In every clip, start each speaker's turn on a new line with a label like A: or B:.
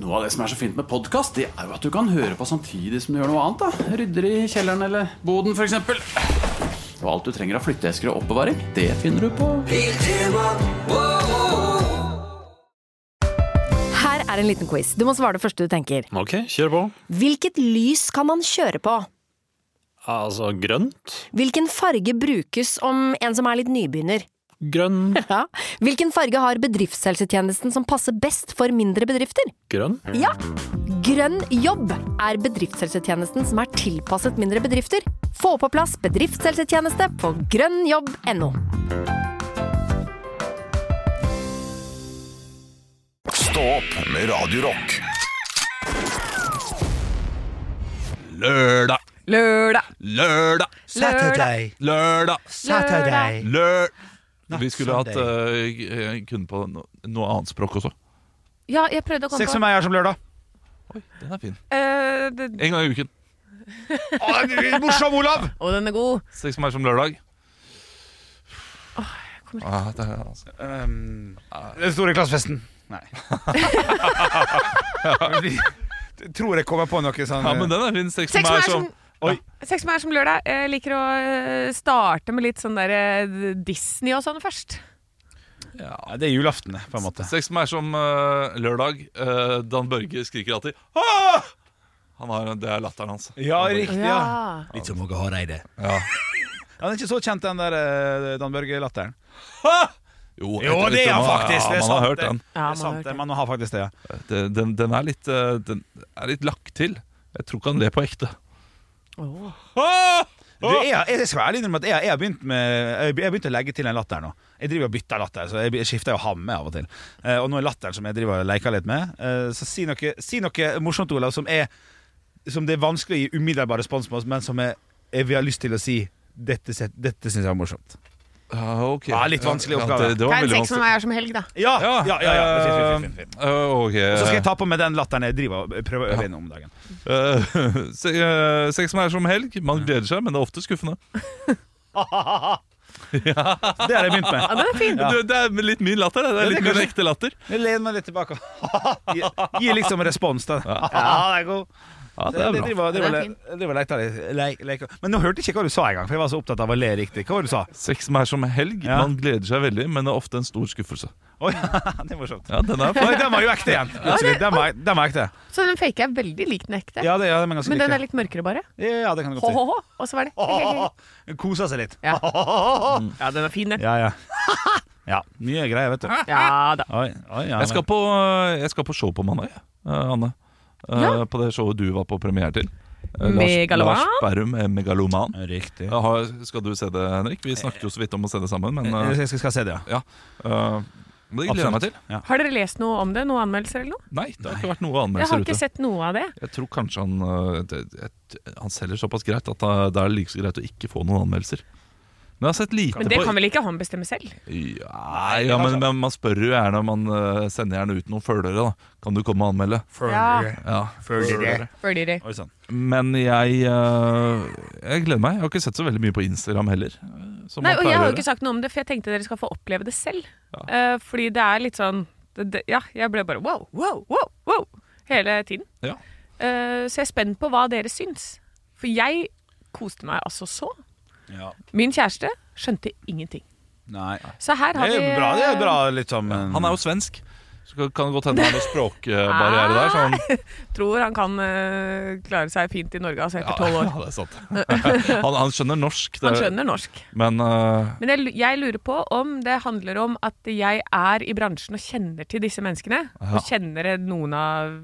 A: Noe av det som er så fint med podkast, det er jo at du kan høre på samtidig som du gjør noe annet. da Rydder i kjelleren eller boden, f.eks. Og alt du trenger av flytteesker og oppbevaring, det finner du på
B: Her er en liten quiz. Du må svare det første du tenker.
C: Ok, kjør på.
B: Hvilket lys kan man kjøre på?
C: Altså grønt.
B: Hvilken farge brukes om en som er litt nybegynner?
C: Grønn.
B: Ja. Hvilken farge har bedriftshelsetjenesten som passer best for mindre bedrifter?
C: Grønn.
B: Ja! Grønn jobb er bedriftshelsetjenesten som er tilpasset mindre bedrifter. Få på plass bedriftshelsetjeneste på grønnjobb.no.
D: Stå opp med Radio Rock.
C: Lørdag.
E: Lørdag.
C: Lørdag.
F: Saturday.
C: Lørdag.
F: Saturday.
C: Lør...
F: Not
C: Vi skulle hatt
F: Sunday.
C: eh, kunde på no- noe annet språk også.
E: Ja, jeg prøvde å komme
F: Sex
E: på
F: med meg er som lørdag.
C: Oi, den er fin.
E: Eh, det-
C: En gang i uken.
F: Å, det er Morsom, Olav!
E: Å, den er god.
C: Sex meg som lørdag.
E: kommer
C: Ah, det er, altså.
F: Um, den store klassefesten. Nei. Vi jeg tror jeg kommer på noe sånn
C: Ja, men den er fin. Sex med
E: Sex med
C: meg
E: meg
C: som
E: som Sex med meg som lørdag. Jeg liker å eh, starte med litt sånn der eh, Disney og sånn først.
C: ja.
F: ja, Det er julaften, det, på en måte.
C: Sex med meg som eh, lørdag. Eh, Dan Børge skriker alltid ah! Han har, Det er latteren hans.
F: Ja,
C: Dan Børge.
F: riktig. Ja. Litt som Åge Hareide.
C: Ja.
F: Han er ikke så kjent, den der eh, Dan Børge-latteren.
C: Ah! Jo,
F: Jo,
C: etter-
F: det er
C: etter-
F: han faktisk. Det er
C: Ja, man
F: sant,
C: har hørt
F: det.
C: den.
E: Ja,
F: det er sant, det, man har faktisk det, ja.
C: Det- Den, den, er litt, eh, den er litt lagt til. Jeg tror ikke han ler på ekte. Ah!
F: Du, jeg, jeg skal ærlig innrømme at jeg, jeg, har begynt med, jeg jeg har begynt å legge til en latter nå. Jeg driver og bytter latter, så jeg, jeg skifter jo hamme av og til. Eh, og nå er latteren som jeg driver og leker litt med. Eh, så si noe, si noe morsomt, Olav, som, er, som det er vanskelig å gi umiddelbar respons på, men som jeg, jeg vil ha lyst til å si dette, set- dette syns jeg var morsomt.
C: Ja, Ah, ok.
F: Ja, litt vanskelig oppgave.
C: det, det
E: Hva
C: var
E: er en
C: veldig
E: sex med
C: vanskelig.
E: meg er som helg, da?
F: Ja! ja, ja, ja, det er fint, fint, fint, fint.
C: eh, ok.
F: Så skal jeg ta på meg den latteren jeg driver og prøver å øve inn om dagen.
C: Eh, se, eh, sex med meg som helg. Man gleder seg, men det er ofte skuffende.
F: Det har jeg begynt med.
E: Ja, den er fin.
F: Ja.
C: Du, det er litt min latter. Det, det er
F: Ja, det
C: litt
F: er
C: min
F: kanskje-
C: ekte latter.
F: Jeg lener meg litt tilbake og gi, gi liksom respons til det. Ja, det er god.
C: Ja,
F: Det, det driver, driver,
E: Den er
F: le, driver lekte litt. Le, leke. Men nå hørte jeg ikke hva du sa engang, for jeg var så opptatt av å le riktig. Hva var det du sa?
C: Sex med meg som helg.
F: Ja.
C: Man gleder seg veldig, men det er ofte en stor skuffelse.
F: Oi, det er morsomt.
C: Ja, den er
F: Oi, den var jo ekte igjen. Plutselig. Den var, den var ekte.
E: Så den fake er veldig lik den ekte.
F: Ja, det, ja, den er ganske
E: Men den er
F: like.
E: litt mørkere, bare.
F: Ja, det kan du godt si.
E: Ho-ho-ho. Og så var det he-he-he.
F: Den Kosa seg litt.
E: Ja. ja, den er fin, den.
F: Ja, ja. Ja, Mye greier, vet du.
E: Ja da.
F: Oi, oi, ja,
C: Jeg skal på, jeg skal på show på mandag, jeg, eh, Anne. Eh,
E: Ja.
C: På det showet du var på premiere til. Eh,
E: Megaloman.
C: Lars, Lars Berrum er megaloman.
F: men- Riktig.
C: Eh, har- Skal du se det, Henrik? Vi snakket jo så vidt om å se det sammen, men eh,
F: Jeg skal, skal se det, ja.
C: eh, det gleder jeg meg til.
E: Har dere lest noe om det? Noen anmeldelser eller noe?
C: Nei, det har ikke vært noe
E: Jeg har
C: anmeldelser ute.
E: ikke sett noe av det.
C: Jeg tror kanskje han eh, det, jeg, Han selger såpass greit at eh, det er like så greit å ikke få noen anmeldelser. Men jeg har sett lite
E: Men det
C: på
E: kan vel ikke han bestemme selv?
C: Ja, ja men, men man spør jo gjerne Man eh, sender gjerne ut noen følgere, da. Kan du komme og anmelde?
E: Ja.
C: Ja.
F: Følgere.
E: Fordi de-
F: Oi sånn. sann.
C: Men jeg, eh, jeg gleder meg. Jeg har ikke sett så veldig mye på Instagram heller. eh, Som
E: Nei,
C: man
E: og
C: pleier
E: jeg har
C: å
E: jo ikke
C: gjøre.
E: sagt noe om det, for jeg tenkte dere skal få oppleve det selv. Eh, fordi det er litt sånn det, det, Ja, jeg ble bare wow, wow, wow, wow hele tiden.
C: Ja.
E: Eh, så jeg er spent på hva dere syns. For jeg koste meg altså så.
F: Ja.
E: Min kjæreste skjønte ingenting.
F: Nei.
E: Så her
F: Det
E: har vi
F: er bra, det er bra litt sånn
C: Han er jo svensk, så kan- kan det godt hende det er noen språkbarriere der. Så han,
E: Tror han kan eh, klare seg fint i Norge altså etter
C: ja,
E: tolv år.
C: ja, det er sant. Han, han skjønner norsk, det,
E: Han skjønner norsk.
C: men eh,
E: Men jeg, lu- jeg lurer på om det handler om at jeg er i bransjen og kjenner til disse menneskene.
C: Ja.
E: Og kjenner noen av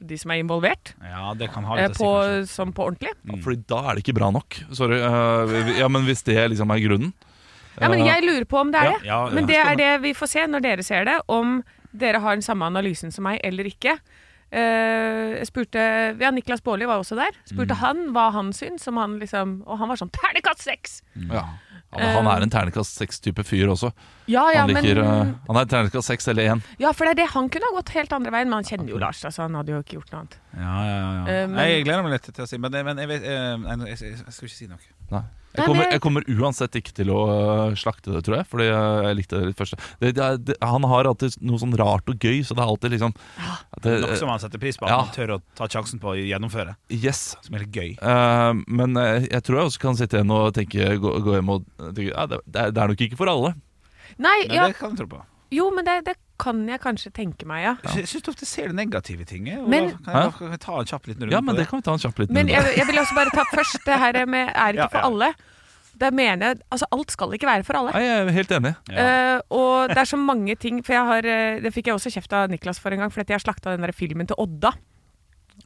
E: de som er involvert,
F: Ja, det kan ha
E: eh,
F: litt å si,
E: på,
F: kanskje.
E: som på ordentlig.
C: ja, Fordi da er det ikke bra nok. Sorry. eh, vi- ja, men hvis det liksom er grunnen
E: Ja, men
C: eh,
E: Jeg lurer på om det er
C: Ja,
E: det.
F: ja, ja.
E: men det er det vi får se når dere ser det, om dere har den samme analysen som meg eller ikke. Eh, jeg spurte, ja, Niklas Baarli var også der.
F: Mm.
E: Spurte han hva han syntes, om han liksom, og han var sånn 'ternekast seks'!
C: ja. Ja, men Han er en ternekast seks-type fyr også.
E: Ja, ja,
C: Han, liker,
E: men,
C: eh, han er ternekast seks eller én.
E: ja, for det er det han kunne ha gått helt andre veien, men han kjenner jo Lars, altså, han hadde jo ikke gjort noe annet.
F: Ja, ja, ja.
E: Eh,
F: eh,
E: men-
F: Nei, jeg gleder meg litt til å si Men, men jeg, vet, eh, nei, jeg, jeg, jeg skal ikke si noe.
C: Nei. Jeg
E: Nei,
C: kommer,
E: men-
C: jeg kommer uansett ikke til å øh, slakte det, tror jeg. Fordi øh, jeg likte det litt første. Det, det, er- det, han har alltid noe sånn rart og gøy, så det er alltid liksom
E: Ah.
C: at det,
F: Noe som han setter pris på.
C: Ja.
F: Han tør å ta sjansen på å gjennomføre.
C: Yes.
F: Som er litt gøy.
C: Eh, men eh, jeg tror jeg også kan sitte igjen og tenke gå, gå hjem og tenke ja, det, det er- det er nok ikke for alle.
E: Nei,
F: Men
E: ja,
F: Det kan du tro på.
E: jo, men det, det kan jeg kanskje tenke meg, ja.
F: Jeg syns ofte ser det negative ting. jeg, Og
E: Men-
F: da kan jeg, kan jeg ta en kjapp liten runde
C: Ja, men
F: på
C: det kan vi ta en kjapp liten
E: Men
C: runde.
E: jeg, jeg vil også bare ta først det her med er ikke
F: Mm. Ja,
E: for
F: ja.
E: alle. Det mener jeg, altså Alt skal ikke være for alle.
C: Nei, jeg er helt enig.
E: Eh, og det er så mange ting For jeg har, eh, det fikk jeg også kjeft av Niklas for en gang, for at jeg slakta den der filmen til Odda.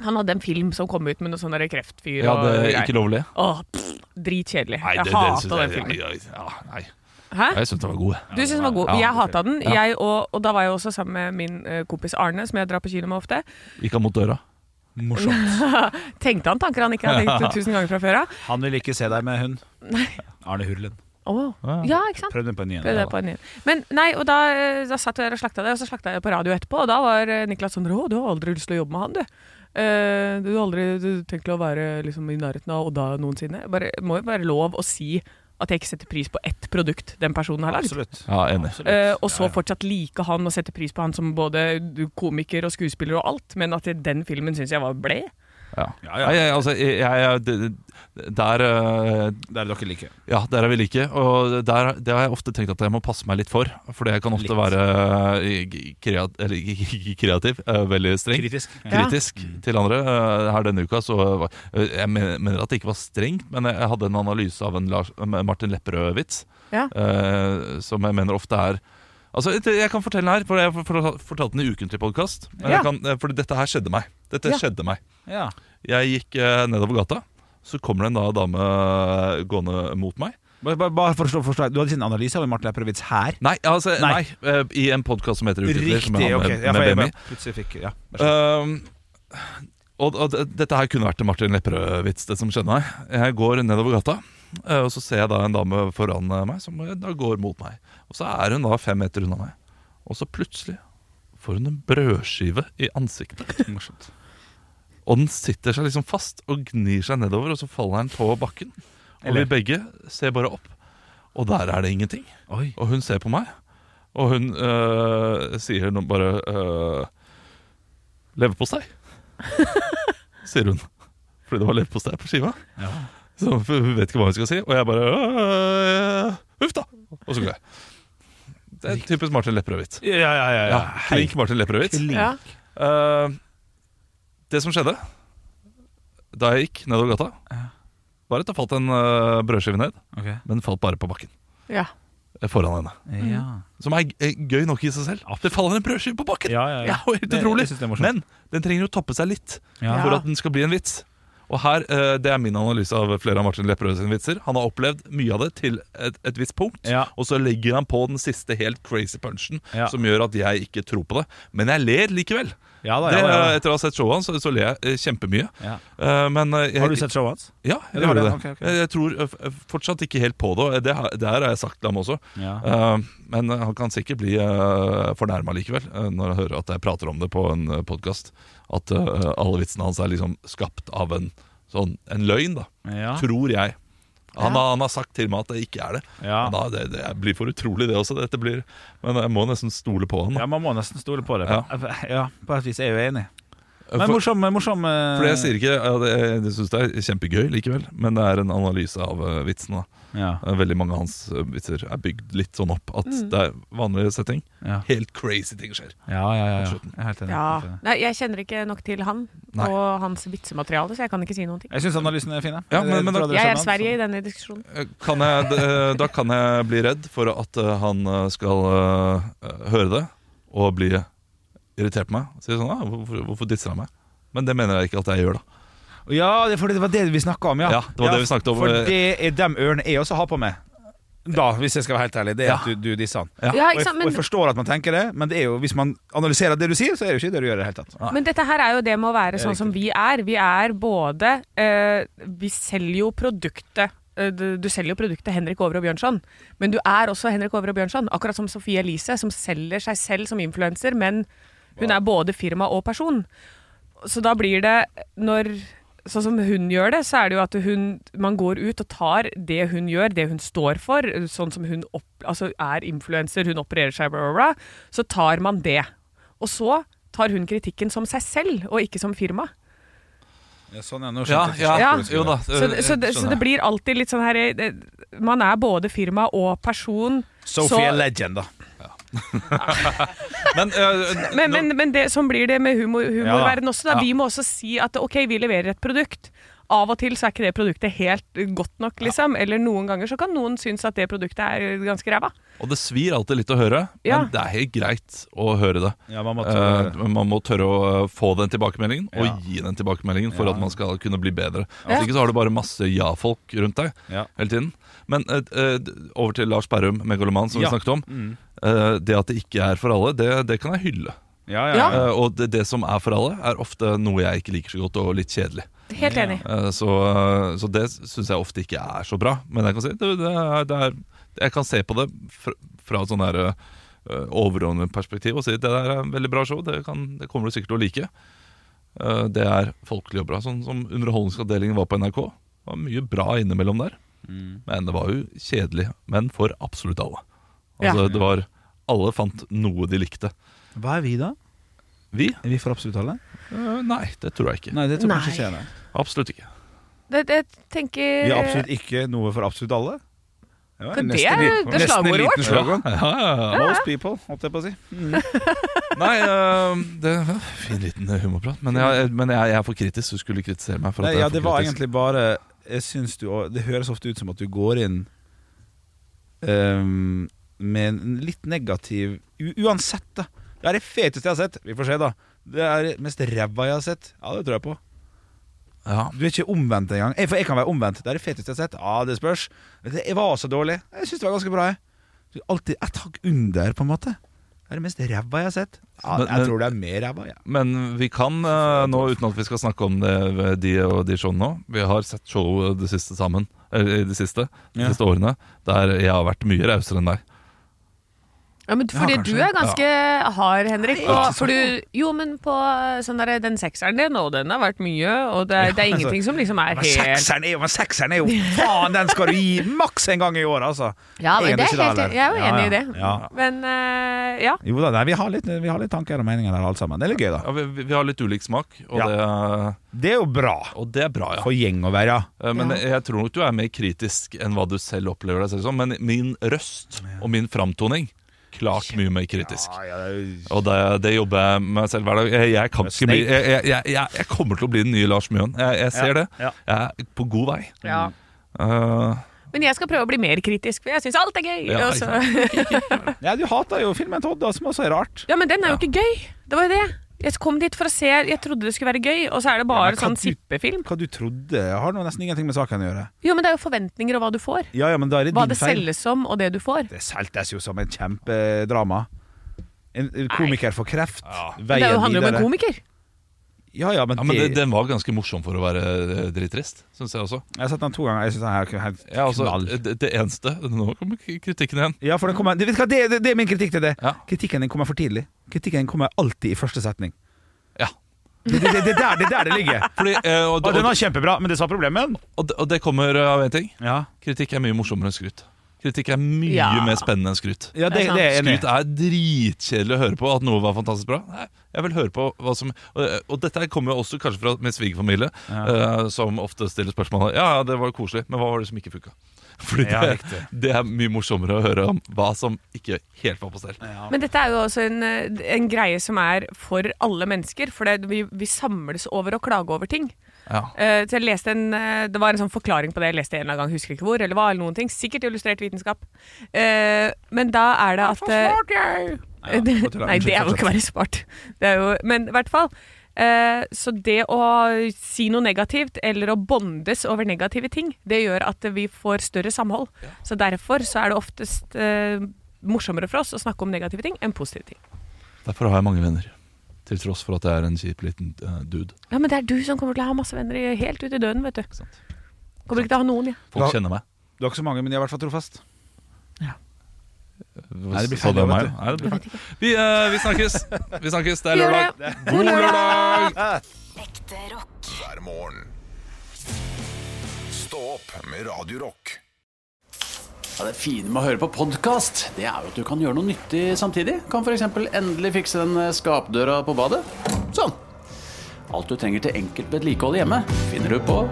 E: Han hadde en film som kom ut med noe sånn der kreftfyr
C: Ja, det
E: og
C: er
E: greier.
C: ikke lov å le.
E: Åh, pff, dritkjedelig.
C: Nei,
E: Jeg
C: det- det synes
E: hata
C: jeg-
E: den filmen.
C: ja, ja, nei.
E: Hæ?
C: Jeg syntes den var god. jeg.
E: Du syns den var god.
C: Ja,
E: jeg
C: det var
E: hata den. Jeg og, og da var jeg også sammen med min eh, kompis Arne, som jeg drar på kino med ofte.
C: Gikk han mot døra? Morsomt.
E: Tenkte han tanker han ikke hadde tenkt tusen ganger fra før av.
F: Han vil ikke se deg med hund. Arne Hurlen.
E: Åh. Ja, ikke sant?
F: Prøv den på en ny en.
E: Prøv det på en ny. Men nei, og da, eh, da satt jeg der og slakta det, og så slakta jeg det på radio etterpå, og da var eh, Niklas sånn Rå, du har aldri lyst til å jobbe med han, du. Eh, du har aldri du tenkt å være liksom, i nærheten av Odda noensinne. Bare, må jo være lov å si at jeg ikke setter pris på ett produkt den personen har lagd.
F: Absolutt.
C: Ja, enig.
E: Eh, og så fortsatt like han og sette pris på han som både komiker og skuespiller og alt, men at den filmen syns jeg var ble.
C: Ja.
F: Ja, ja.
C: Nei, jeg, altså, jeg, jeg, det- det- der, øh,
F: Det er dere liker.
C: ja, der er vi like. Og der, det har jeg ofte tenkt at jeg må passe meg litt for. For jeg kan ofte
F: Litt.
C: være øh, kreat, eller, ikke kreativ, øh, veldig streng.
F: Kritisk. Mm. Ja.
C: Kritisk til andre. Eh, Her denne uka så var eh, Jeg mener mener at det ikke var strengt, men jeg hadde en analyse av en Lars, eh, Martin Lepperød-vits
E: Ja.
C: eh, som jeg mener ofte er Altså, det- Jeg kan fortelle den her, for jeg har fortalt- fortalt den i ukentlig podkast.
E: Ja.
C: For eh, dette her skjedde meg. Dette
E: Ja.
C: skjedde meg.
F: Ja.
C: Jeg gikk eh, nedover gata, så kommer det en da dame eh, gående mot meg.
F: Bare, bare, bare for å slå forstå, Du hadde ikke en analyse av en Martin Lepperød-vits her?
C: Nei, altså, nei.
F: Nei.
C: eh, i en podkast som heter Ukentlig. som
F: Riktig,
C: jeg har
F: ok.
C: med,
F: Ja, for
C: med
F: jeg
C: Benny.
F: bare plutselig fikk ja, vær så god.
C: Um, og, og d- dette her kunne vært en Martin Lepperød-vits, det som skjedde meg. Jeg går nedover gata, eh, og så ser jeg da en dame foran eh, meg som eh, da går mot meg. Og så er hun da fem meter unna meg. Og så plutselig får hun en brødskive i ansiktet.
F: Morsomt.
C: Og den sitter seg liksom fast og gnir seg nedover, og så faller den på bakken. Og vi
F: Eller-
C: begge ser bare opp, og der er det ingenting.
F: Oi.
C: Og hun ser på meg, og hun øh, sier noe bare øh, Leverpostei, sier hun. Fordi det var leverpostei på skiva.
F: Ja.
C: Så hun vet ikke hva hun skal si, og jeg bare øh, Huff, da! Og så går jeg. Det er typisk Martin Lepperød-vits.
F: Ja, ja, ja. ja.
C: Ja,
F: Hei.
C: klink Martin Lepperød-vits.
F: Klink.
E: Ja.
C: Eh, det som skjedde da jeg gikk nedover gata, var at det falt en eh, brødskive ned,
F: Ok.
C: men den falt bare på bakken
E: Ja.
C: eh, foran henne.
F: Ja.
C: Som er eh, gøy nok i seg selv. Det faller en brødskive på bakken!
F: Ja, ja,
C: Det
F: ja.
C: er jo helt
F: Det-
C: utrolig.
F: jeg synes det er morsomt.
C: men den trenger jo toppe seg litt
F: Ja.
C: for at den skal bli en vits. Og her, eh, Det er min analyse av flere av Martin Lepperød sine vitser. Han har opplevd mye av det til et, et visst punkt,
F: Ja.
C: og så legger han på den siste helt crazy punchen
F: Ja.
C: som gjør at jeg ikke tror på det. Men jeg ler likevel.
F: Ja, da,
C: Det,
F: ja, da, ja.
C: Etter å ha sett showet hans, så, så ler jeg eh, kjempemye.
F: Ja.
C: Eh, men eh, jeg,
F: Har du sett showet hans?
C: Ja,
F: Ja,
C: jeg
F: du har
C: gjorde det.
F: det. Ok, ok.
C: Jeg, jeg tror eh, f- eh, fortsatt ikke helt på det. og Det, har- det her har jeg sagt til ham også.
F: Ja.
C: Eh, men eh, han kan sikkert bli uh, fornærma likevel, eh, når han hører at jeg prater om det på en uh, podkast. At eh, alle vitsene hans er liksom skapt av en, sånn, en løgn, da.
F: Ja.
C: Tror jeg. Han, har- han har sagt til meg at det ikke er det.
F: Ja.
C: Men da, det, det blir for utrolig, det også. Dette blir, men jeg må nesten stole på han. Da.
F: Ja, man må nesten stole på det.
C: Ja.
F: Ja, på et vis er jeg jo enig. Men
C: For-
F: morsom, morsom eh,
C: Fordi jeg sier ikke ja, det, Jeg synes det er kjempegøy likevel Men det er en analyse av uh, vitsene da.
F: ja.
C: Eh, Veldig mange av hans eh, vitser er bygd litt sånn opp At
E: Mm.
C: det er vanlig setting
F: Ja.
C: Helt crazy ting skjer
F: Ja, ja, ja, ja. Jeg er helt enig.
E: ja.
F: Helt enig.
E: Nei, jeg kjenner ikke nok til han
C: Nei.
E: og hans vitsemateriale, så jeg kan ikke si noen ting.
F: Jeg syns analysen er fin. jeg.
C: Ja, men-
F: Jeg
C: men
F: tror
C: da-
F: dere
E: Jeg
F: skjønner
E: er
F: den,
E: Sverige
F: så-
E: i denne diskusjonen.
C: Eh, kan jeg, d- eh, Da kan jeg bli redd for at eh, han eh, skal eh, høre det Og bli irritert på meg Sier sånn, ah, hvorfor, hvorfor disser han meg? Men det mener jeg ikke at jeg gjør da
F: Ja, det, for det var det vi snakka om, ja.
C: Ja, det var det vi snakket om. eh.
F: For det er de ørene jeg også har på meg. Da, hvis jeg skal være helt ærlig. Det er
C: Ja.
F: at du, du disser han.
C: Ja.
E: Ja,
F: og,
E: ikke
F: jeg,
E: sant?
F: og jeg
E: Men,
F: forstår at man tenker det, men det er jo, hvis man analyserer det du sier, så er det jo ikke det du gjør i det hele tatt.
E: men dette her er jo det med å være
F: Det er
E: sånn som vi er. Vi er både eh, Vi selger jo produktet eh, du, du selger jo produktet Henrik Over og Bjørnson, men du er også Henrik Over og Bjørnson. Akkurat som Sofie Elise, som selger seg selv som influenser, men hun er både firma og person. Så da blir det når sånn som hun gjør det, så er det jo at hun, man går ut og tar det hun gjør, det hun står for, sånn som hun opp, altså er influenser, hun opererer seg, bla, bla, bla, så tar man det. Og så tar hun kritikken som seg selv, og ikke som firma.
F: Ja, sånn, ja, nå
C: Ja,
F: skjønte jeg
C: ja,
F: til slutt
E: Ja.
F: hvor du skulle.
C: jo da.
E: Så,
C: eh,
E: så, det, så
C: skjønner
E: det
C: jeg.
E: blir alltid litt sånn her eh, Man er både firma og person.
F: Sophie
E: så-
F: er legend, da.
C: Men, eh, nå-
E: Men, men, men det, sånn blir det med humor, humorverden også. Da.
C: Ja.
E: Vi må også si at ok, vi leverer et produkt. Av og til så er ikke det produktet helt eh, godt nok, liksom. Eller noen ganger så kan noen synes at det produktet er eh, ganske ræva.
C: Og det svir alltid litt å høre,
E: Ja.
C: men det er helt greit å høre det.
F: Ja, man må
C: Eh,
F: ta-
C: men man må tørre å eh, få den tilbakemeldingen, og
F: Ja.
C: gi den tilbakemeldingen for
F: Ja.
C: at man skal kunne bli bedre.
E: Ja.
C: Hvis ikke så har du bare masse ja-folk rundt deg
F: Ja.
C: hele tiden. Men eh, eh, d- over til Lars Berrum, megaloman, som
F: Ja. Mm.
C: vi snakket om. Eh, det at det ikke er for alle, det, det kan jeg hylle.
F: Ja, ja,
E: Ja.
F: ja.
C: Eh, og det, det som er for alle, er ofte noe jeg ikke liker så godt, og litt kjedelig.
E: Helt enig.
C: Eh, så, eh, så det syns jeg ofte ikke er så bra. Men jeg kan, si, det, det er, det er, jeg kan se på det fra, fra sånn der eh, overordnet perspektiv og si det der er en veldig bra show, det, kan, det kommer du sikkert til å like. Eh, det er folkelig og bra. Sånn som Underholdningsavdelingen var på NRK. Det var mye bra innimellom der.
F: Mm.
C: Men det var jo kjedelig. Men for absolutt alle. Altså, det var, alle fant noe de likte.
F: Hva er vi, da?
C: Vi?
F: Er vi for absolutt alle?
C: Eh, nei, det tror jeg ikke.
F: Nei, det tror jeg
B: Nei.
F: kanskje ikke jeg. nei.
C: Absolutt ikke.
E: Det, det tenker
F: Vi er absolutt ikke noe for absolutt alle. Det, var
E: Hva, det
F: nesten
E: er-
F: li-
E: det er
F: nesten en
E: slagordet
F: liten slogan.
C: Ja, ja, ja.
F: Most people, holdt jeg på å si.
C: Nei, øh, det var fin liten humorprat. Men, jeg, men jeg, jeg er for kritisk. Du skulle kritisere meg. for at
F: Nei,
C: jeg er
F: ja,
C: for
F: det var
C: kritisk.
F: egentlig bare Jeg syns du Det høres ofte ut som at du går inn ehm, med en litt negativ u Uansett, da. Det er det feteste jeg har sett. Vi får se, da. Det er det mest ræva jeg har sett. Ja, det tror jeg på.
C: ja.
F: Du er ikke omvendt engang. Jeg, for jeg kan være omvendt. Det er det feteste jeg har sett. Ja, det spørs. Det jeg var så dårlig. Jeg syns det var ganske bra, jeg. Du er alltid et hakk under, på en måte. Det er det mest ræva jeg har sett. Ja,
C: Men- men-
F: jeg tror det er mer ræva, jeg.
C: Men vi kan øh, nå, uten at vi skal snakke om det, ved de og de showene nå Vi har sett show det siste sammen. Eller i det siste, de
F: Ja.
C: siste årene. Der jeg har vært mye rausere enn deg.
E: Ja, men fordi
F: Ja, kanskje.
E: du er ganske hard, Henrik. Og for du, jo, men på sånn der, den sekseren din, og den har vært mye, og det, det er
F: altså.
E: ingenting som liksom er
F: Men
E: helt
F: sekseren er jo, men sekseren er jo Faen, den skal du gi maks en gang i år, altså!
E: Ja,
F: Er
E: men det
F: det
E: er
F: ikke det,
E: helt,
F: eller?
E: jeg er jo
F: Ja,
E: enig i
F: ja,
E: det.
F: ja.
E: Men eh, ja.
F: Jo da, nei, vi har litt, vi har litt tanker og meninger der, alle sammen. Det er litt gøy, da.
C: Ja, vi, vi- vi har litt ulik smak, og,
F: Ja.
C: det,
F: Det er jo bra
C: og det er bra, ja.
F: for gjeng å være.
C: Eh, Men jeg tror nok du er mer kritisk enn hva du selv opplever deg selv som. Men min røst og min framtoning klart mye mer kritisk.
F: ja, det er jo-
C: Og det, det jobber jeg med selv hver dag. Jeg, jeg, kan ikke bli, jeg, jeg, jeg, jeg- jeg kommer til å bli den nye Lars Mjøen. Jeg, jeg ser
F: Ja,
C: det.
F: ja.
C: Jeg er på god vei.
E: ja.
F: Mm.
C: Eh,
E: Men jeg skal prøve å bli mer kritisk, for jeg syns alt er gøy.
C: Ja,
E: og
C: ikke
E: så-
F: Ja, du hater jo filmen Todd, da, som også er rart.
E: ja, men den er jo ikke gøy. Det var jo det. Jeg kom dit for å se, jeg trodde det skulle være gøy, og så er det
F: Ja,
E: bare
F: men kan
E: sånn
F: du-
E: sippefilm.
F: Hva du trodde, har nå nesten ingenting med saken å gjøre.
E: Jo, men det er jo forventninger og hva du får.
F: Ja, ja, men da er det din
E: Hva det
F: feil.
E: selges som, og det du får.
F: Det seltes jo som en kjempedrama. En en komiker får kreft.
E: Men
F: Veien
E: det er jo- handler jo om en
F: videre.
E: komiker.
F: Ja, ja, men,
C: ja, men
F: det,
C: det, den var ganske morsom for å være eh, drittrist, syns jeg også.
F: Jeg har sett den to ganger. Jeg synes den her er helt
C: Ja, altså,
F: knall.
C: det, det eneste Nå kommer k- kritikken igjen.
F: Ja, for den kommer, det, vet du hva, det, det, det er min kritikk til det.
C: Ja.
F: Kritikken din kommer for tidlig. Kritikken kommer alltid i første setning.
C: Ja.
F: Det er det, det, er der- det, er der det ligger.
C: Fordi, eh, og,
F: Og
C: og,
F: den
C: og,
F: var kjempebra, men det sa problemet.
C: det- og det kommer av én ting.
F: Ja,
C: Kritikk er mye morsommere enn skryt. Kritikk er mye
E: Ja.
C: mer spennende enn skryt.
F: ja det, det er jeg enig
C: Skryt
F: i.
C: er dritkjedelig å høre på, at noe var fantastisk bra. Nei, jeg vil høre på hva som Og, og dette her kommer jo også kanskje fra min svigerfamilie, eh, som ofte stiller spørsmålet Ja, ja, det var koselig, men hva var det som ikke funka? Fordi
F: Ja,
C: det,
F: riktig.
C: det er mye morsommere å høre om hva som ikke helt var på stell.
E: Men dette er jo også en, eh, en greie som er for alle mennesker, for det, vi, vi samles over å klage over ting.
C: Ja.
E: Eh, så jeg leste en, eh, det var en sånn forklaring på det jeg leste en eller annen gang, husker ikke hvor, eller hva, eller noen ting. Sikkert illustrert vitenskap. Eh, men da er det at
F: Ja,
E: eh, det,
F: fortell,
E: nei,
F: unnskyld,
E: det er jo ikke å være smart. Det er jo, men i hvert fall. eh, så det å si noe negativt, eller å bondes over negative ting, det gjør at vi får større samhold. Så derfor så er det oftest eh, morsommere for oss å snakke om negative ting enn positive ting.
C: Derfor har jeg mange venner. Til tross for at jeg er en kjip liten eh, dude.
E: Ja, men det er du som kommer til å ha masse venner i- helt ut i døden, vet du. Kommer ikke til å ha noen, jeg.
C: Folk
F: Ja.
C: kjenner meg.
F: Du har ikke så mange, men de er i hvert fall trofast.
C: Nei,
F: det blir
C: Så
F: feil,
C: er
F: vet
C: meg.
F: du.
C: Nei, det blir feil. Vi, eh, vi snakkes. Vi snakkes. Det er
E: Vi gjør
C: lørdag.
E: det.
C: God lørdag!
D: hver morgen. Stå opp med Radio Rock.
A: Ja, det fine med å høre på podkast, det er jo at du kan gjøre noe nyttig samtidig. Kan f.eks. endelig fikse den eh, skapdøra på badet. Sånn. Alt du trenger til enkelt vedlikehold hjemme, finner du på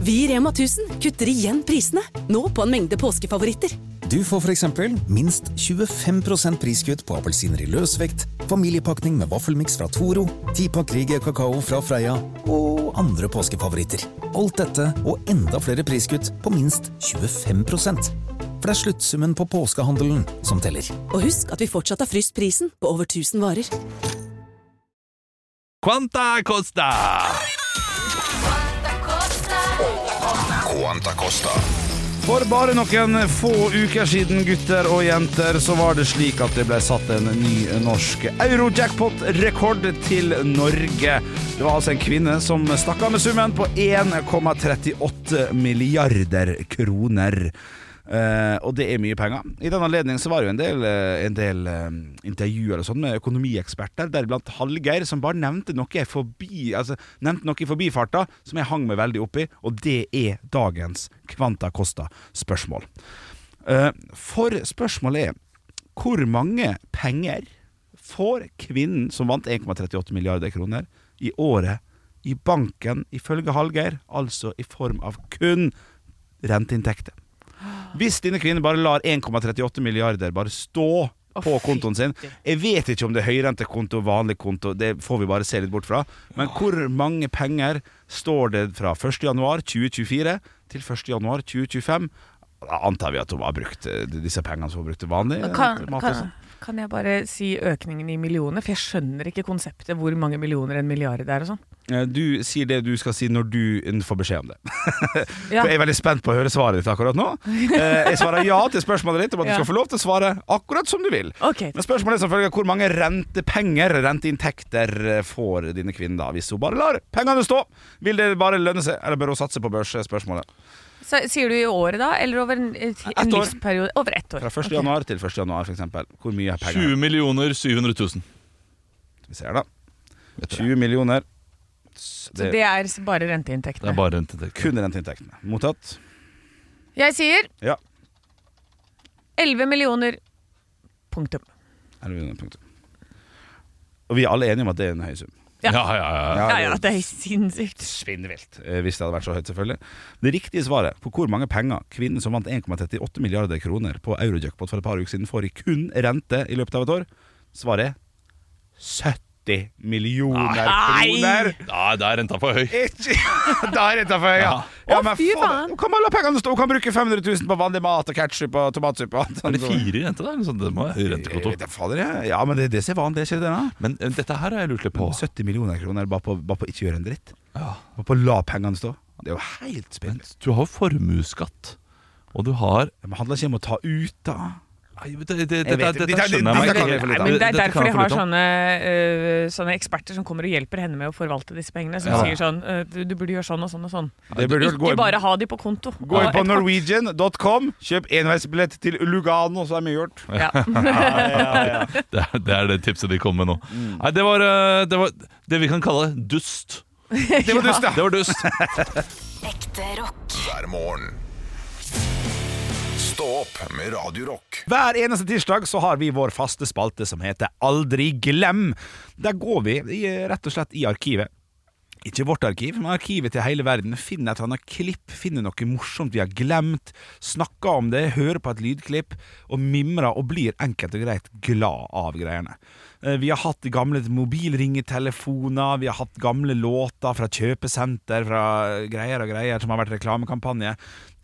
G: Vi i Rema 1000 kutter igjen prisene, nå på en mengde påskefavoritter.
H: Du får f.eks. minst 25 priskutt på appelsiner i løsvekt, familiepakning med vaffelmiks fra Toro, tipakk Rieger kakao fra Freia og andre påskefavoritter. Alt dette og enda flere priskutt på minst 25 For det er sluttsummen på påskehandelen som teller.
G: Og husk at vi fortsatt har fryst prisen på over 1000 varer.
C: Quanta Costa!
D: Quanta Costa.
F: For bare noen få uker siden, gutter og jenter, så var det slik at det ble satt en ny norsk euro-jackpot-rekord til Norge. Det var altså en kvinne som stakk av med summen på 1,38 milliarder kroner. Eh, og det er mye penger. I den anledning så var det jo en del, eh, en del eh, intervjuer og sånn med økonomieksperter, deriblant Hallgeir, som bare nevnte noe, i forbi, altså, nevnte noe i forbifarta som jeg hang meg veldig opp i, og det er dagens Kvanta Costa-spørsmål. Eh, for spørsmålet er hvor mange penger får kvinnen som vant 1,38 milliarder kroner i året i banken, ifølge Hallgeir, altså i form av kun renteinntekter? Hvis denne kvinnen bare lar 1,38 milliarder bare stå på kontoen sin Jeg vet ikke om det er høyrentekonto, vanlig konto, det får vi bare se litt bort fra. Men hvor mange penger står det fra 1.1.2024 til 1.1.2025? Da antar vi at hun har brukt eh, disse pengene som hun brukte vanlig. eh,
E: Kan,
F: mat og
E: kan,
F: sånn.
E: kan jeg bare si økningen i millioner? For jeg skjønner ikke konseptet hvor mange millioner en milliard er og sånn.
F: Eh, Du sier det du skal si når du får beskjed om det.
E: Ja.
F: For jeg er veldig spent på å høre svaret ditt akkurat nå. Eh, Jeg svarer ja til spørsmålet ditt om at du
E: Ja.
F: skal få lov til å svare akkurat som du vil.
E: Ok.
F: Men spørsmålet er selvfølgelig hvor mange rentepenger, renteinntekter, eh, får denne kvinnen da, hvis hun bare lar pengene stå? Vil det bare lønne seg, eller bør hun satse på børs? er Spørsmålet.
E: Så, sier du i året da, eller over en, en
F: år.
E: livsperiode? Over ett år.
F: Fra 1.
E: Ok.
F: januar til 1. januar, for eksempel. Hvor mye er penger?
C: 20 millioner 700 000.
F: Vi ser da. 20 millioner.
E: Så
F: Det
E: det er s- bare
C: Det
E: renteinntektene.
C: er bare renteinntekter.
F: kun renteinntektene. Mottatt?
E: Jeg sier
F: Ja.
E: 11 millioner. Punktum.
F: Eller under punktet. Og vi er alle enige om at det er en høy sum.
E: Ja.
C: Ja, ja, ja.
E: Ja,
F: det er
E: ja, det er sinnssykt.
F: Svinnvilt, eh, hvis det hadde vært så høyt, selvfølgelig. Det riktige svaret på hvor mange penger kvinnen som vant 1,38 milliarder kroner på Eurojackpot for et par uker siden, får i kun rente i løpet av et år, svaret er 70 millioner kroner!
C: Nei, det er renta for høy.
F: Ikke Da er dette for høyt, ja. ja men
E: fy
F: faen,
E: faen.
F: Hun kan bare la pengene stå, hun kan bruke 500 000 på vanlig mat og ketsjup og tomatsuppe og alt
C: Er
F: sånt.
C: det fire i rente der? Eller sånn? Det må være
F: Jeg vet
C: rentekonto.
F: da fader, jeg. Ja, men det, det ser vanlig, ikke det? da?
C: Men eh, dette her har jeg lurt litt på.
F: 70 millioner kroner bare på, bare på ikke gjøre en dritt.
C: Ja.
F: Bare på å la pengene stå. Det er jo helt
C: Men
F: spinnvilt.
C: du har jo formuesskatt, og du har
F: Det handler ikke om å ta ut, da.
C: Nei, men det, det, dette,
F: Jeg vet
C: dette,
F: ikke. Dette-
C: skjønner jeg meg
F: dette kan jeg
C: ikke.
F: få litt av.
E: Men Det er
C: Dette kan
E: derfor de
C: jeg sånn- få
E: har
C: litt av.
E: sånne, øh, sånne eksperter som kommer og hjelper henne med å forvalte disse pengene. Som
C: Ja.
E: sier sånn øh, du, du burde gjøre sånn og sånn og sånn.
F: Det burde jo gå
E: Ikke bare ha de på konto.
F: Gå inn
E: Og
F: på
E: et kort.
F: norwegian.com, kjøp enveisbillett til Lugano, så er mye gjort.
E: Ja.
C: det, er, det er det tipset de kom med nå.
F: Mm.
C: Nei, det var, eh, det var det vi kan kalle dust.
F: Det var dust, ja.
C: Det var dust.
D: hver morgen. Stå opp med Radio Rock.
F: Hver eneste tirsdag så har vi vår faste spalte som heter Aldri glem. Der går vi i, rett og slett i arkivet. Ikke vårt arkiv, men arkivet til hele verden. Finn et eller annet klipp, finn noe morsomt vi har glemt, snakker om det, hører på et lydklipp, og mimrer og blir enkelt og greit glad av greiene. Eh, Vi har hatt gamle mobilringetelefoner, vi har hatt gamle låter fra kjøpesenter, fra greier og greier som har vært reklamekampanje.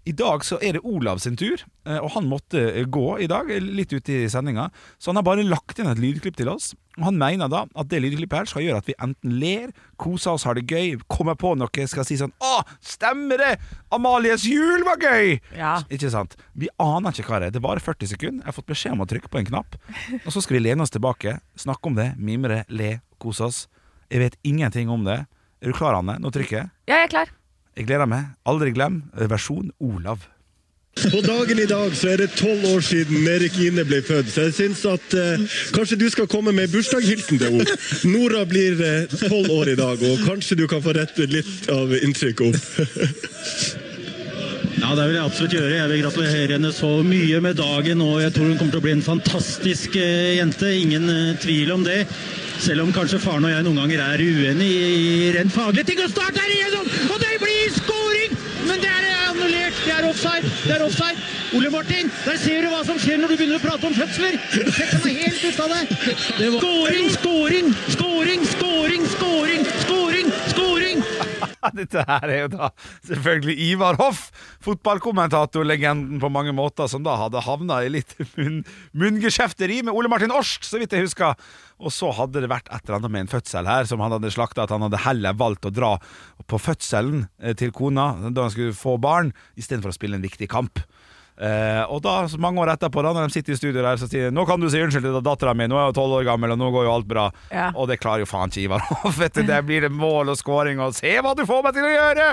F: I dag så er det Olav sin tur, eh, og han måtte eh, gå i dag, eh, litt ute i sendinga. Så han har bare lagt inn et lydklipp til oss. Og han mener da at det lydklippet her skal gjøre at vi enten ler, koser oss, har det gøy, kommer på noe, skal si sånn Å, stemmer det! Amalies jul var gøy!
E: Ja.
F: Ikke sant? Vi aner ikke hva det er. Det varer 40 sekunder. Jeg har fått beskjed om å trykke på en knapp. Og så skal vi lene oss tilbake, snakke om det, mimre, le, kose oss. Jeg vet ingenting om det. Er du klar, Anne? Nå trykker jeg.
E: ja, jeg er klar.
F: Jeg gleder meg. Aldri glem eh, versjon Olav.
I: På dagen i dag så er det tolv år siden Erik Ine ble født, så jeg syns at eh, kanskje du skal komme med bursdagshilsen til henne. Nora blir eh, tolv år i dag, og kanskje du kan få rettet litt av inntrykket opp.
J: Ja, det vil jeg absolutt gjøre. Jeg vil gratulere henne så mye med dagen, og jeg tror hun kommer til å bli en fantastisk eh, jente. Ingen eh, tvil om det. Selv om kanskje faren og jeg noen ganger er uenige i, i rent faglige ting. Og start er igjennom! Og det blir scoring! Men det er eh, annullert. Det er offside. Det er offside. Ole Martin, der ser du hva som skjer når du begynner å prate om fødsler! Sjekk han er helt ute av det. det var... Scoring, scoring, scoring, scoring, scoring, scoring, scoring!
F: Dette her er jo da selvfølgelig Ivar Hoff, fotballkommentatorlegenden på mange måter, som da hadde havna i litt munn, munngeskjefteri med Ole Martin Årst, så vidt jeg husker. Og så hadde det vært et eller annet med en fødsel her som han hadde slakta, at han hadde heller valgt å dra på fødselen eh, til kona da han skulle få barn, istedenfor å spille en viktig kamp. Eh, og da, så mange år etterpå, da når de sitter i studio der, så sier de 'Nå kan du si unnskyld til dattera mi, nå er hun tolv år gammel, og nå går jo alt bra'.
E: Ja.
F: Og det klarer jo faen ikke Ivar Hoff. Vet du, der blir det mål og scoring, og 'se hva du får meg til å gjøre'!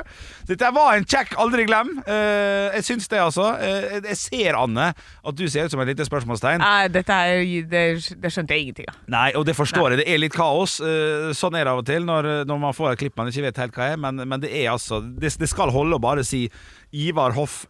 F: Dette var en kjekk aldri glem. Eh, jeg syns det, altså. Eh, jeg ser, Anne, at du ser ut som et lite spørsmålstegn.
E: Nei, dette er, det, det skjønte jeg ingenting av.
F: Nei, og det forstår jeg. Det er litt kaos. Eh, Sånn er det av og til når, når man får et klipp man ikke vet helt hva er, men, men det er altså det, det skal holde å bare si Ivar Hoff,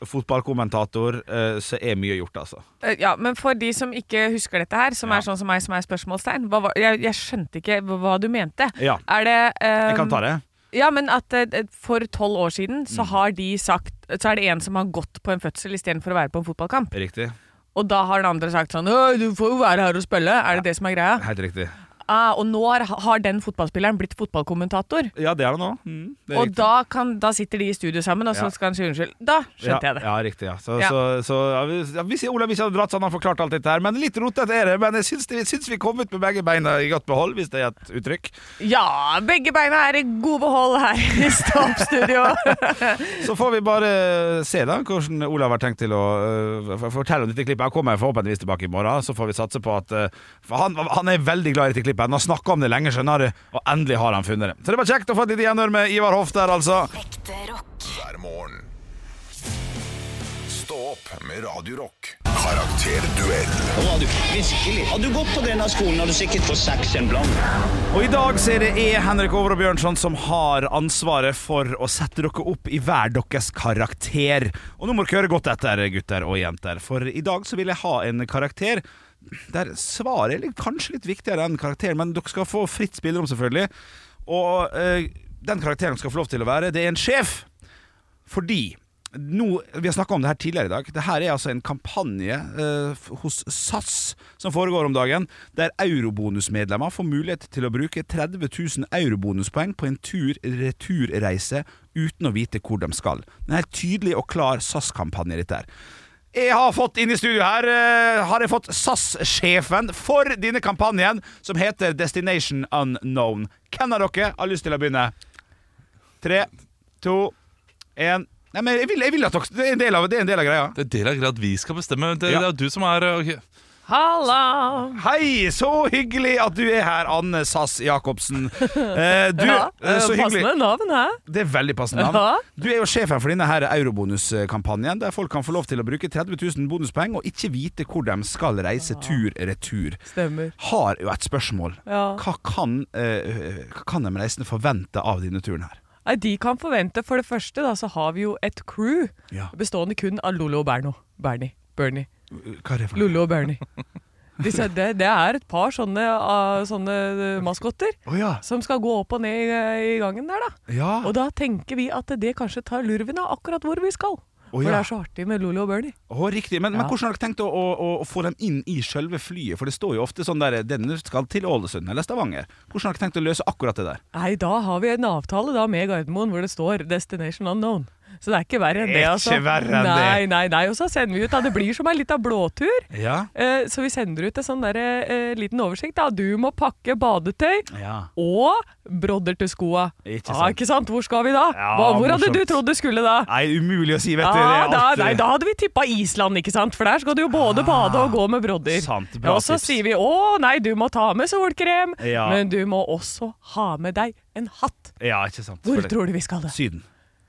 F: fotballkommentator, eh, så er mye gjort, altså.
E: Eh, Ja, men for de som ikke husker dette her, som
F: Ja.
E: er sånn som meg, som er spørsmålstegn hva, var- jeg, jeg skjønte ikke hva hva du mente.
F: Ja.
E: Er det eh,
F: Jeg kan ta det. Mm.
E: Ja, men at eh, for tolv år siden så har de sagt Så er det en som har gått på en fødsel istedenfor å være på en fotballkamp.
F: Riktig.
E: Og da har den andre sagt sånn «Øy, du får jo være her og spille. Er det det som er greia?
F: Helt riktig.
E: Ah, og nå har, har den fotballspilleren blitt fotballkommentator.
F: Ja, det er det nå. Mm, det er
E: Og
F: riktig.
E: da, kan, da sitter de i studio sammen, og så
F: Ja.
E: skal han si unnskyld. Da skjønte jeg det.
F: Ja, ja riktig. Ja. Så,
E: Ja.
F: Så, så, ja, vi, ja, vi sier Olav ikke hadde dratt, så han har forklart alt dette her. Men litt rotete er det. Men jeg syns, det, jeg syns vi kom ut med begge beina i godt behold, hvis det er et uttrykk.
E: Ja, begge beina er i god behold her i Stopp-studio.
F: Så får vi bare se da hvordan Olav har tenkt til å øh, f- fortelle om dette klippet. Han kommer forhåpentligvis tilbake i morgen, så får vi satse på at øh, for han, han er veldig glad i dette klippet. Han har snakka om det lenge, skjønner du, og endelig har han funnet det. Så det var kjekt å få et lite gjenhør med Ivar Hoff der, altså.
D: hver morgen. Stå opp med Radio Rock. Karakterduell
J: Hadde du gått på denne skolen, hadde du sikkert fått seks en blank.
F: Og i dag så er det jeg, Henrik Over og Bjørnson, som har ansvaret for å sette dere opp i hver deres karakter. Og nå må dere høre godt etter, gutter og jenter, for i dag så vil jeg ha en karakter der svaret er litt- kanskje litt viktigere enn karakteren, men dere skal få fritt spillerom, selvfølgelig. Og eh, den karakteren dere skal få lov til å være, det er en sjef. Fordi nå, Vi har snakka om det her tidligere i dag. Det her er altså en kampanje eh, f- hos SAS som foregår om dagen, der eurobonusmedlemmer får mulighet til å bruke 30 000 eurobonuspoeng på en tur-returreise uten å vite hvor de skal. Det er en helt tydelig og klar SAS-kampanje, dette her. Jeg har fått inn i studio her eh, Har jeg fått SAS-sjefen for denne kampanjen, som heter Destination Unknown. Hvem av dere har lyst til å begynne? Tre, to, en Nei, men jeg vil, jeg vil at dere Det er en del av, det er en del av greia.
C: Det er del av greia at vi skal bestemme. Det,
F: Ja.
C: det er du som er eh, ok.
E: Halla!
F: Hei, så hyggelig at du er her, Anne Sass Jacobsen. Eh, du,
E: Ja,
F: eh, så
E: eh,
F: hyggelig.
E: Passende navn, hæ?
F: Det er veldig passende
E: Ja.
F: navn. Du er jo sjefen for denne her eurobonuskampanjen, der folk kan få lov til å bruke 30 000 bonuspoeng og ikke vite hvor de skal reise tur-retur.
E: Stemmer.
F: Har jo et spørsmål.
E: Ja.
F: Hva kan, eh, hva kan de reisende forvente av denne turen her?
E: Nei, de kan forvente. For det første da, så har vi jo et crew
F: Ja.
E: bestående kun av Lollo og Berno. Bernie. Bernie.
F: Hva er det for noe?
E: Lollo og Bernie. Disse, det, det er et par sånne, ah, sånne eh, maskotter
F: Å ja.
E: som skal gå opp og ned i, eh, i gangen der, da.
F: ja.
E: Og da tenker vi at det kanskje tar lurven av akkurat hvor vi skal.
F: Å,
E: For
F: ja.
E: det er så artig med Lollo og Bernie.
F: Å, riktig, men, men
E: Ja.
F: hvordan har dere tenkt å, å, å- å få dem inn i selve flyet? For det står jo ofte sånn der Denne skal til Ålesund eller Stavanger. Hvordan har dere tenkt å løse akkurat det der?
E: Nei, da har vi en avtale da med Gardermoen hvor det står 'Destination Unknown'. Så det er ikke verre enn det.
F: Ikke
E: altså.
F: verre enn det.
E: Nei, nei, nei. Og så sender vi ut da. Det blir som en liten blåtur.
F: Ja.
E: Eh, så vi sender ut en sånn der, eh, liten oversikt. da. Du må pakke badetøy
F: ja.
E: og brodder til skoa.
F: Ikke
E: Ah,
F: sant.
E: ikke sant? Hvor skal vi da?
F: Ja,
E: Hva, hvor hadde
F: morsomt.
E: du trodd du skulle da?
F: Nei, umulig å si, vet du. det er
E: Ah,
F: alltid-
E: da,
F: Ah,
E: nei, da hadde vi tippa Island, ikke sant? For der skal du jo både bade og gå med brodder.
F: Sant,
E: Ja,
F: bra
E: og så
F: tips.
E: sier vi å nei, du må ta med solkrem,
F: Ja.
E: men du må også ha med deg en hatt.
F: Ja, ikke sant.
E: Hvor
F: selvfølgelig.
E: tror du vi skal? da?
F: Syden.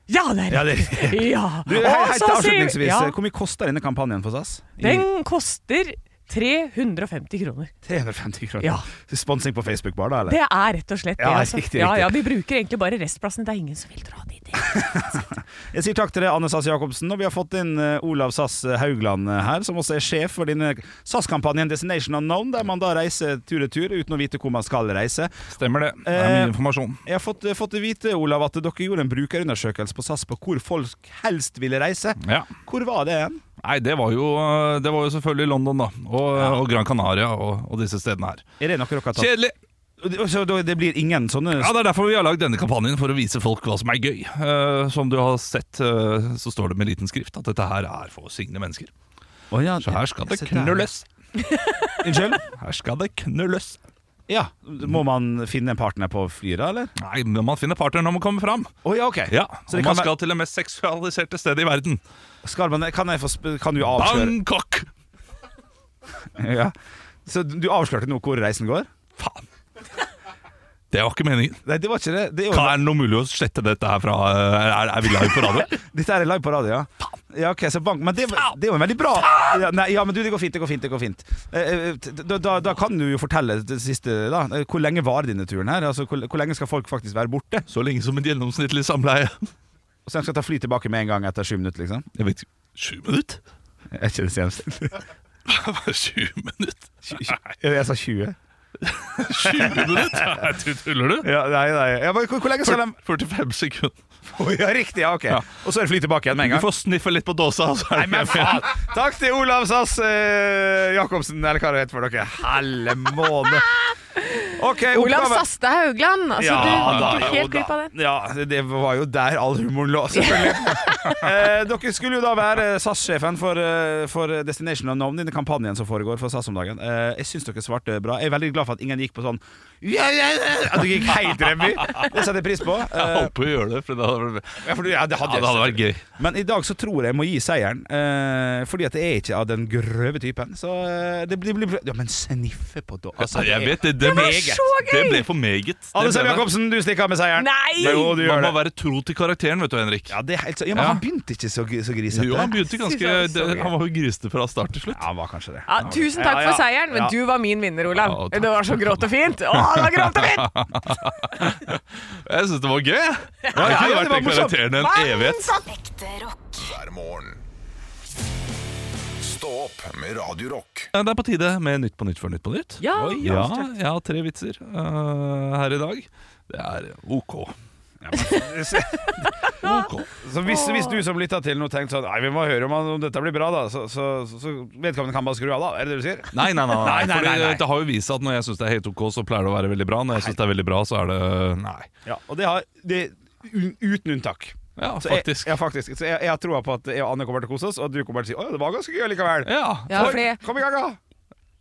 E: Ja, det er
F: Ja, det
E: riktig. Ja.
F: Du, hei, hei,
E: Og så sier-
F: avslutningsvis, eh,
E: ja.
F: Hvor mye koster denne kampanjen for SAS? I
E: Den koster 350 kroner.
F: 350 kroner.
E: Ja.
F: Sponsing på Facebook bare, da? eller?
E: Det er rett og slett det.
F: Ja,
E: altså.
F: riktig,
E: ja,
F: riktig.
E: ja, vi bruker egentlig bare restplassene. Det er ingen som vil dra dit.
F: Jeg sier takk til deg, Anne Sass Jacobsen. Og vi har fått inn eh, Olav Sass Haugland eh, her, som også er sjef for denne SAS-kampanjen Destination Unknown, der man da reiser tur-retur uten å vite hvor man skal reise.
C: Stemmer det. Det er
F: Eh,
C: mye informasjon.
F: Jeg har fått, eh, fått vite, Olav, at dere gjorde en brukerundersøkelse på SAS på hvor folk helst ville reise.
C: Ja.
F: Hvor var det hen?
C: Nei, det var, jo, eh, det var jo selvfølgelig London, da. Og, og Gran Canaria og, og disse stedene her.
F: Er det noe dere har tatt?
C: Kjedelig!
F: Så da- det blir ingen sånne
C: Ja, Det er derfor vi har lagd denne kampanjen, for å vise folk hva som er gøy. Eh, som du har sett, eh, så står det med liten skrift at dette her er for signe mennesker.
F: Å ja,
C: Så her skal det
F: se der.
C: knulles!
F: Unnskyld?
C: Her skal det knulles!
F: Ja. Må man finne en partner på flyet, da, eller?
C: Nei, men man finner partner når man kommer fram.
F: Å ja, ok.
C: Ja,
F: Så det
C: og
F: kan
C: man skal til det mest seksualiserte stedet i verden.
F: Skal man, kan, jeg få, sp- kan du avsløre
C: Bangkok!
F: ja. Så du avslørte nå hvor reisen går?
C: Faen. Det var ikke meningen.
F: Nei, det var ikke det. det er jo-
C: Kan, er det noe mulig å slette dette her fra eh, Er, er vi live på radio?
F: Dette er live på radio, ja. ja ok, så bank. Men det, det er jo en veldig bra ja, nei, ja, men du, det går fint, det går fint. det går fint Eh, eh, Da, da, da kan du jo fortelle det siste, da. Eh, Hvor lenge varer denne turen her? Altså, hvor, hvor lenge skal folk faktisk være borte?
C: Så lenge som et gjennomsnittlig samleie.
F: Og så skal jeg ta fly tilbake med en gang etter sju minutter, liksom?
C: Jeg vet ikke Sju minutter?
F: Er ikke det senest?
C: Sju minutter?
F: Jeg sa 20.
C: Sju minutter? Nei, Du tuller, du?
F: Ja, nei, nei. Ja, men hvor, hvor lenge skal de
C: 45 sekunder.
F: Å, Ja, riktig, ja, ok.
C: Ja.
F: Og så er det fly tilbake igjen med en
C: Du
F: gang.
C: får sniffe litt på dåsa, og så
F: Nei,
C: er det
F: men faen! Takk til Olav Sass eh, Jacobsen, eller hva det heter for dere. Helle måne. Ok,
K: Olav
F: oppgave-
K: Saste Haugland. Altså, du
F: da,
K: gikk jo
F: jo
K: helt glipp av det.
F: da. Ja, det var jo der all humoren lå, selvfølgelig. eh, dere skulle jo da være SAS-sjefen for, eh, for Destination Unknown, denne kampanjen som foregår for SAS om dagen. Eh, jeg syns dere svarte bra. Jeg er veldig glad for at ingen gikk på sånn ja, ja, ja, At dere gikk helt revy. Det setter jeg pris på.
C: Jeg
F: Eh,
C: holdt på å gjøre det, for det hadde,
F: ja, for, du- ja, det
C: ja, det
F: hadde, jeg
C: hadde vært gøy.
F: men i dag så tror jeg jeg må gi seieren, eh, fordi at jeg er ikke av den grøve typen. Så eh, det blir, blir Ja, men sniffe på da.
C: Altså, jeg vet det, det,
E: var
C: meget.
E: så gøy!
C: det ble for meget. Det
F: Alle
C: ble
F: sammen,
C: det.
F: Jacobsen, du stikker av med seieren.
E: Nei!
F: Jo,
C: Man
F: du gjør
C: må
F: det.
C: være tro til karakteren, vet du, Henrik.
F: Ja, det er helt, så- ja, men
C: Ja.
F: han begynte ikke så, gri- så grisete.
C: Jo, han begynte ganske
E: Synes jeg det var så
C: det- Han var jo grisete fra start til slutt.
F: Ja, han var kanskje det.
K: Ja, tusen takk
F: Ja, ja,
K: for seieren, men
F: ja.
K: du var min vinner, Olav.
C: Ja, takk.
K: det var så grått og fint. Å, det var grått og fint!
C: Jeg syns det var gøy. jeg. Jeg
F: ja,
C: kunne
F: det
C: vært
F: var
C: den
F: morsomt.
C: karakteren en evighet.
D: hver morgen. Stå opp med Radio Rock
C: Det er på tide med Nytt på nytt før Nytt på nytt.
E: Ja.
C: Oi, ja, jeg har tre vitser eh, her i dag. Det er OK. OK.
F: Så hvis, hvis du som lytter til nå tenkte sånn Nei, vi må høre om, han, om dette blir bra, da. Så, så, så, så vedkommende kan bare skru av, da. Er det det du sier?
C: Nei, nei, nei. nei,
F: Nei, nei,
C: fordi
F: nei, nei.
C: Det har jo vist seg at når jeg syns det er helt OK, så pleier det å være veldig bra. Når jeg syns det er veldig bra, så er det Nei.
F: Ja, og det har det, un, Uten unntak.
C: Ja,
F: Så jeg,
C: faktisk.
F: ja, faktisk. Så jeg, jeg har troa på at jeg og Anne kommer til å kose oss, og du kommer til å si Å, det var ganske gøy likevel.
C: Ja,
E: Ja,
F: Oi,
E: for det-
F: Kom i gang, da!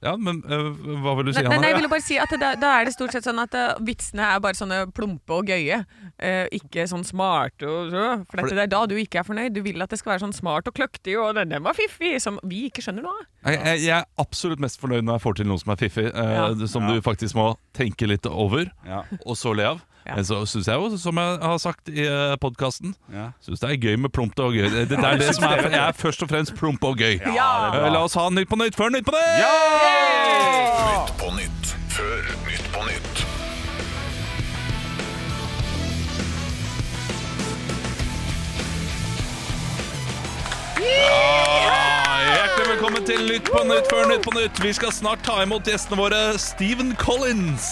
C: ja men eh, hva vil du si,
E: Nei, nei, nei, jeg
C: Hanne?
E: ville bare si at da, da er det stort sett sånn at eh, vitsene er bare sånne plumpe og gøye. Eh, ikke sånn smarte og så. For dette, det er da du ikke er fornøyd. Du vil at det skal være sånn smart og kløktig og den, den var fiffig, som vi ikke skjønner noe av.
C: Jeg, jeg, jeg er absolutt mest fornøyd når jeg får til noe som er fiffig, eh,
E: Ja.
C: som du faktisk må tenke litt over,
F: Ja.
C: og så le av.
E: Ja.
C: Men så syns jeg jo, som jeg har sagt i eh, podkasten,
F: Ja.
C: syns det er gøy med prompt og gøy. Det, det er det som er Jeg er først og fremst promp og gøy.
E: Ja,
C: Eh, La oss ha Nytt på nytt før Nytt på nytt!
D: på nytt før Nytt på nytt.
C: Hjertelig velkommen til Nytt på Nytt før Nytt på Nytt. Vi skal snart ta imot gjestene våre Stephen Collins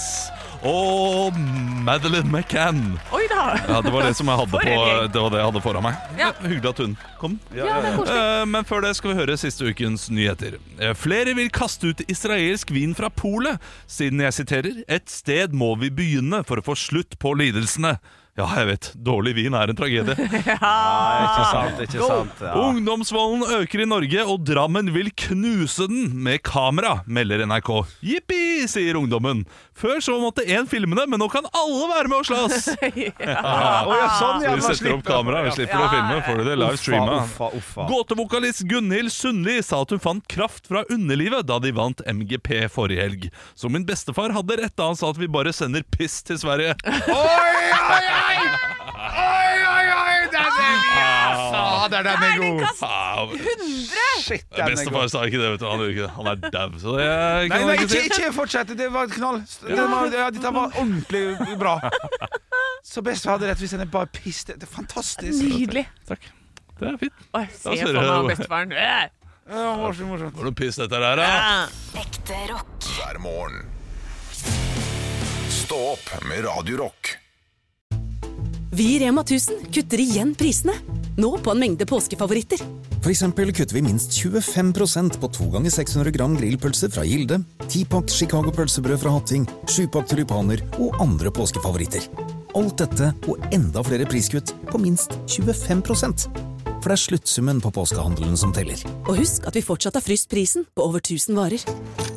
C: og Madeleine McCann.
E: Oi da!
C: Ja, det var det som jeg hadde,
E: For en
C: på,
E: gjeng.
C: det var det jeg hadde foran meg. Hyggelig at hun kom. Eh, Men før det skal vi høre siste ukens nyheter. Eh, Flere vil kaste ut israelsk vin fra polet, siden jeg siterer Et sted må vi begynne for å få slutt på lidelsene. Ja, jeg vet. Dårlig vin er en tragedie.
F: Ikke sant, ikke sant. Ja.
C: Ungdomsvolden øker i Norge, og Drammen vil knuse den med kamera, melder NRK. Jippi, sier ungdommen. Før så måtte én filme det, men nå kan alle være med og slåss!
F: Ah, å, ja, sånn, ja,
C: vi
F: man
C: setter opp
F: slipper-
C: kamera, vi slipper å filme, får du det live streama.
F: Uffa, uffa, uffa.
C: Gåtevokalist Gunhild Sundli sa at hun fant kraft fra underlivet da de vant MGP forrige helg. Så min bestefar hadde rett da han sa at vi bare sender piss til Sverige.
F: Oi, oi, oi! Oi, oi, oi! Det, det,
L: Fader, den er god! Shit, den er
C: Bestefar
L: god.
C: sa ikke det, vet du. Han gjorde ikke det. Han er dau, så det kan
L: Nei,
C: man
L: nei,
C: si.
L: ikke, ikke fortsett. Det var et knall. Det var, ja, dette var ordentlig bra. Så bestefar hadde rett hvis han er bare pissed. Det er fantastisk.
E: Nydelig.
C: Takk. Det er fint.
E: Oi,
C: Da
E: se for
C: hører jeg-
E: meg bestefaren. Øh.
C: Var det noe piss dette der, da?
D: Ekte rock. Hver morgen. Stå opp med Radio Rock.
G: Vi i Rema 1000 kutter igjen prisene. Nå på en mengde påskefavoritter.
F: For eksempel kutter vi minst 25 på 2 ganger 600 gram grillpølser fra Gilde, 10-pakk Chicago-pølsebrød fra Hatting, 7-pakk tulipaner og andre påskefavoritter. Alt dette og enda flere priskutt på minst 25 For det er sluttsummen på påskehandelen som teller.
G: Og husk at vi fortsatt har fryst prisen på over 1000 varer.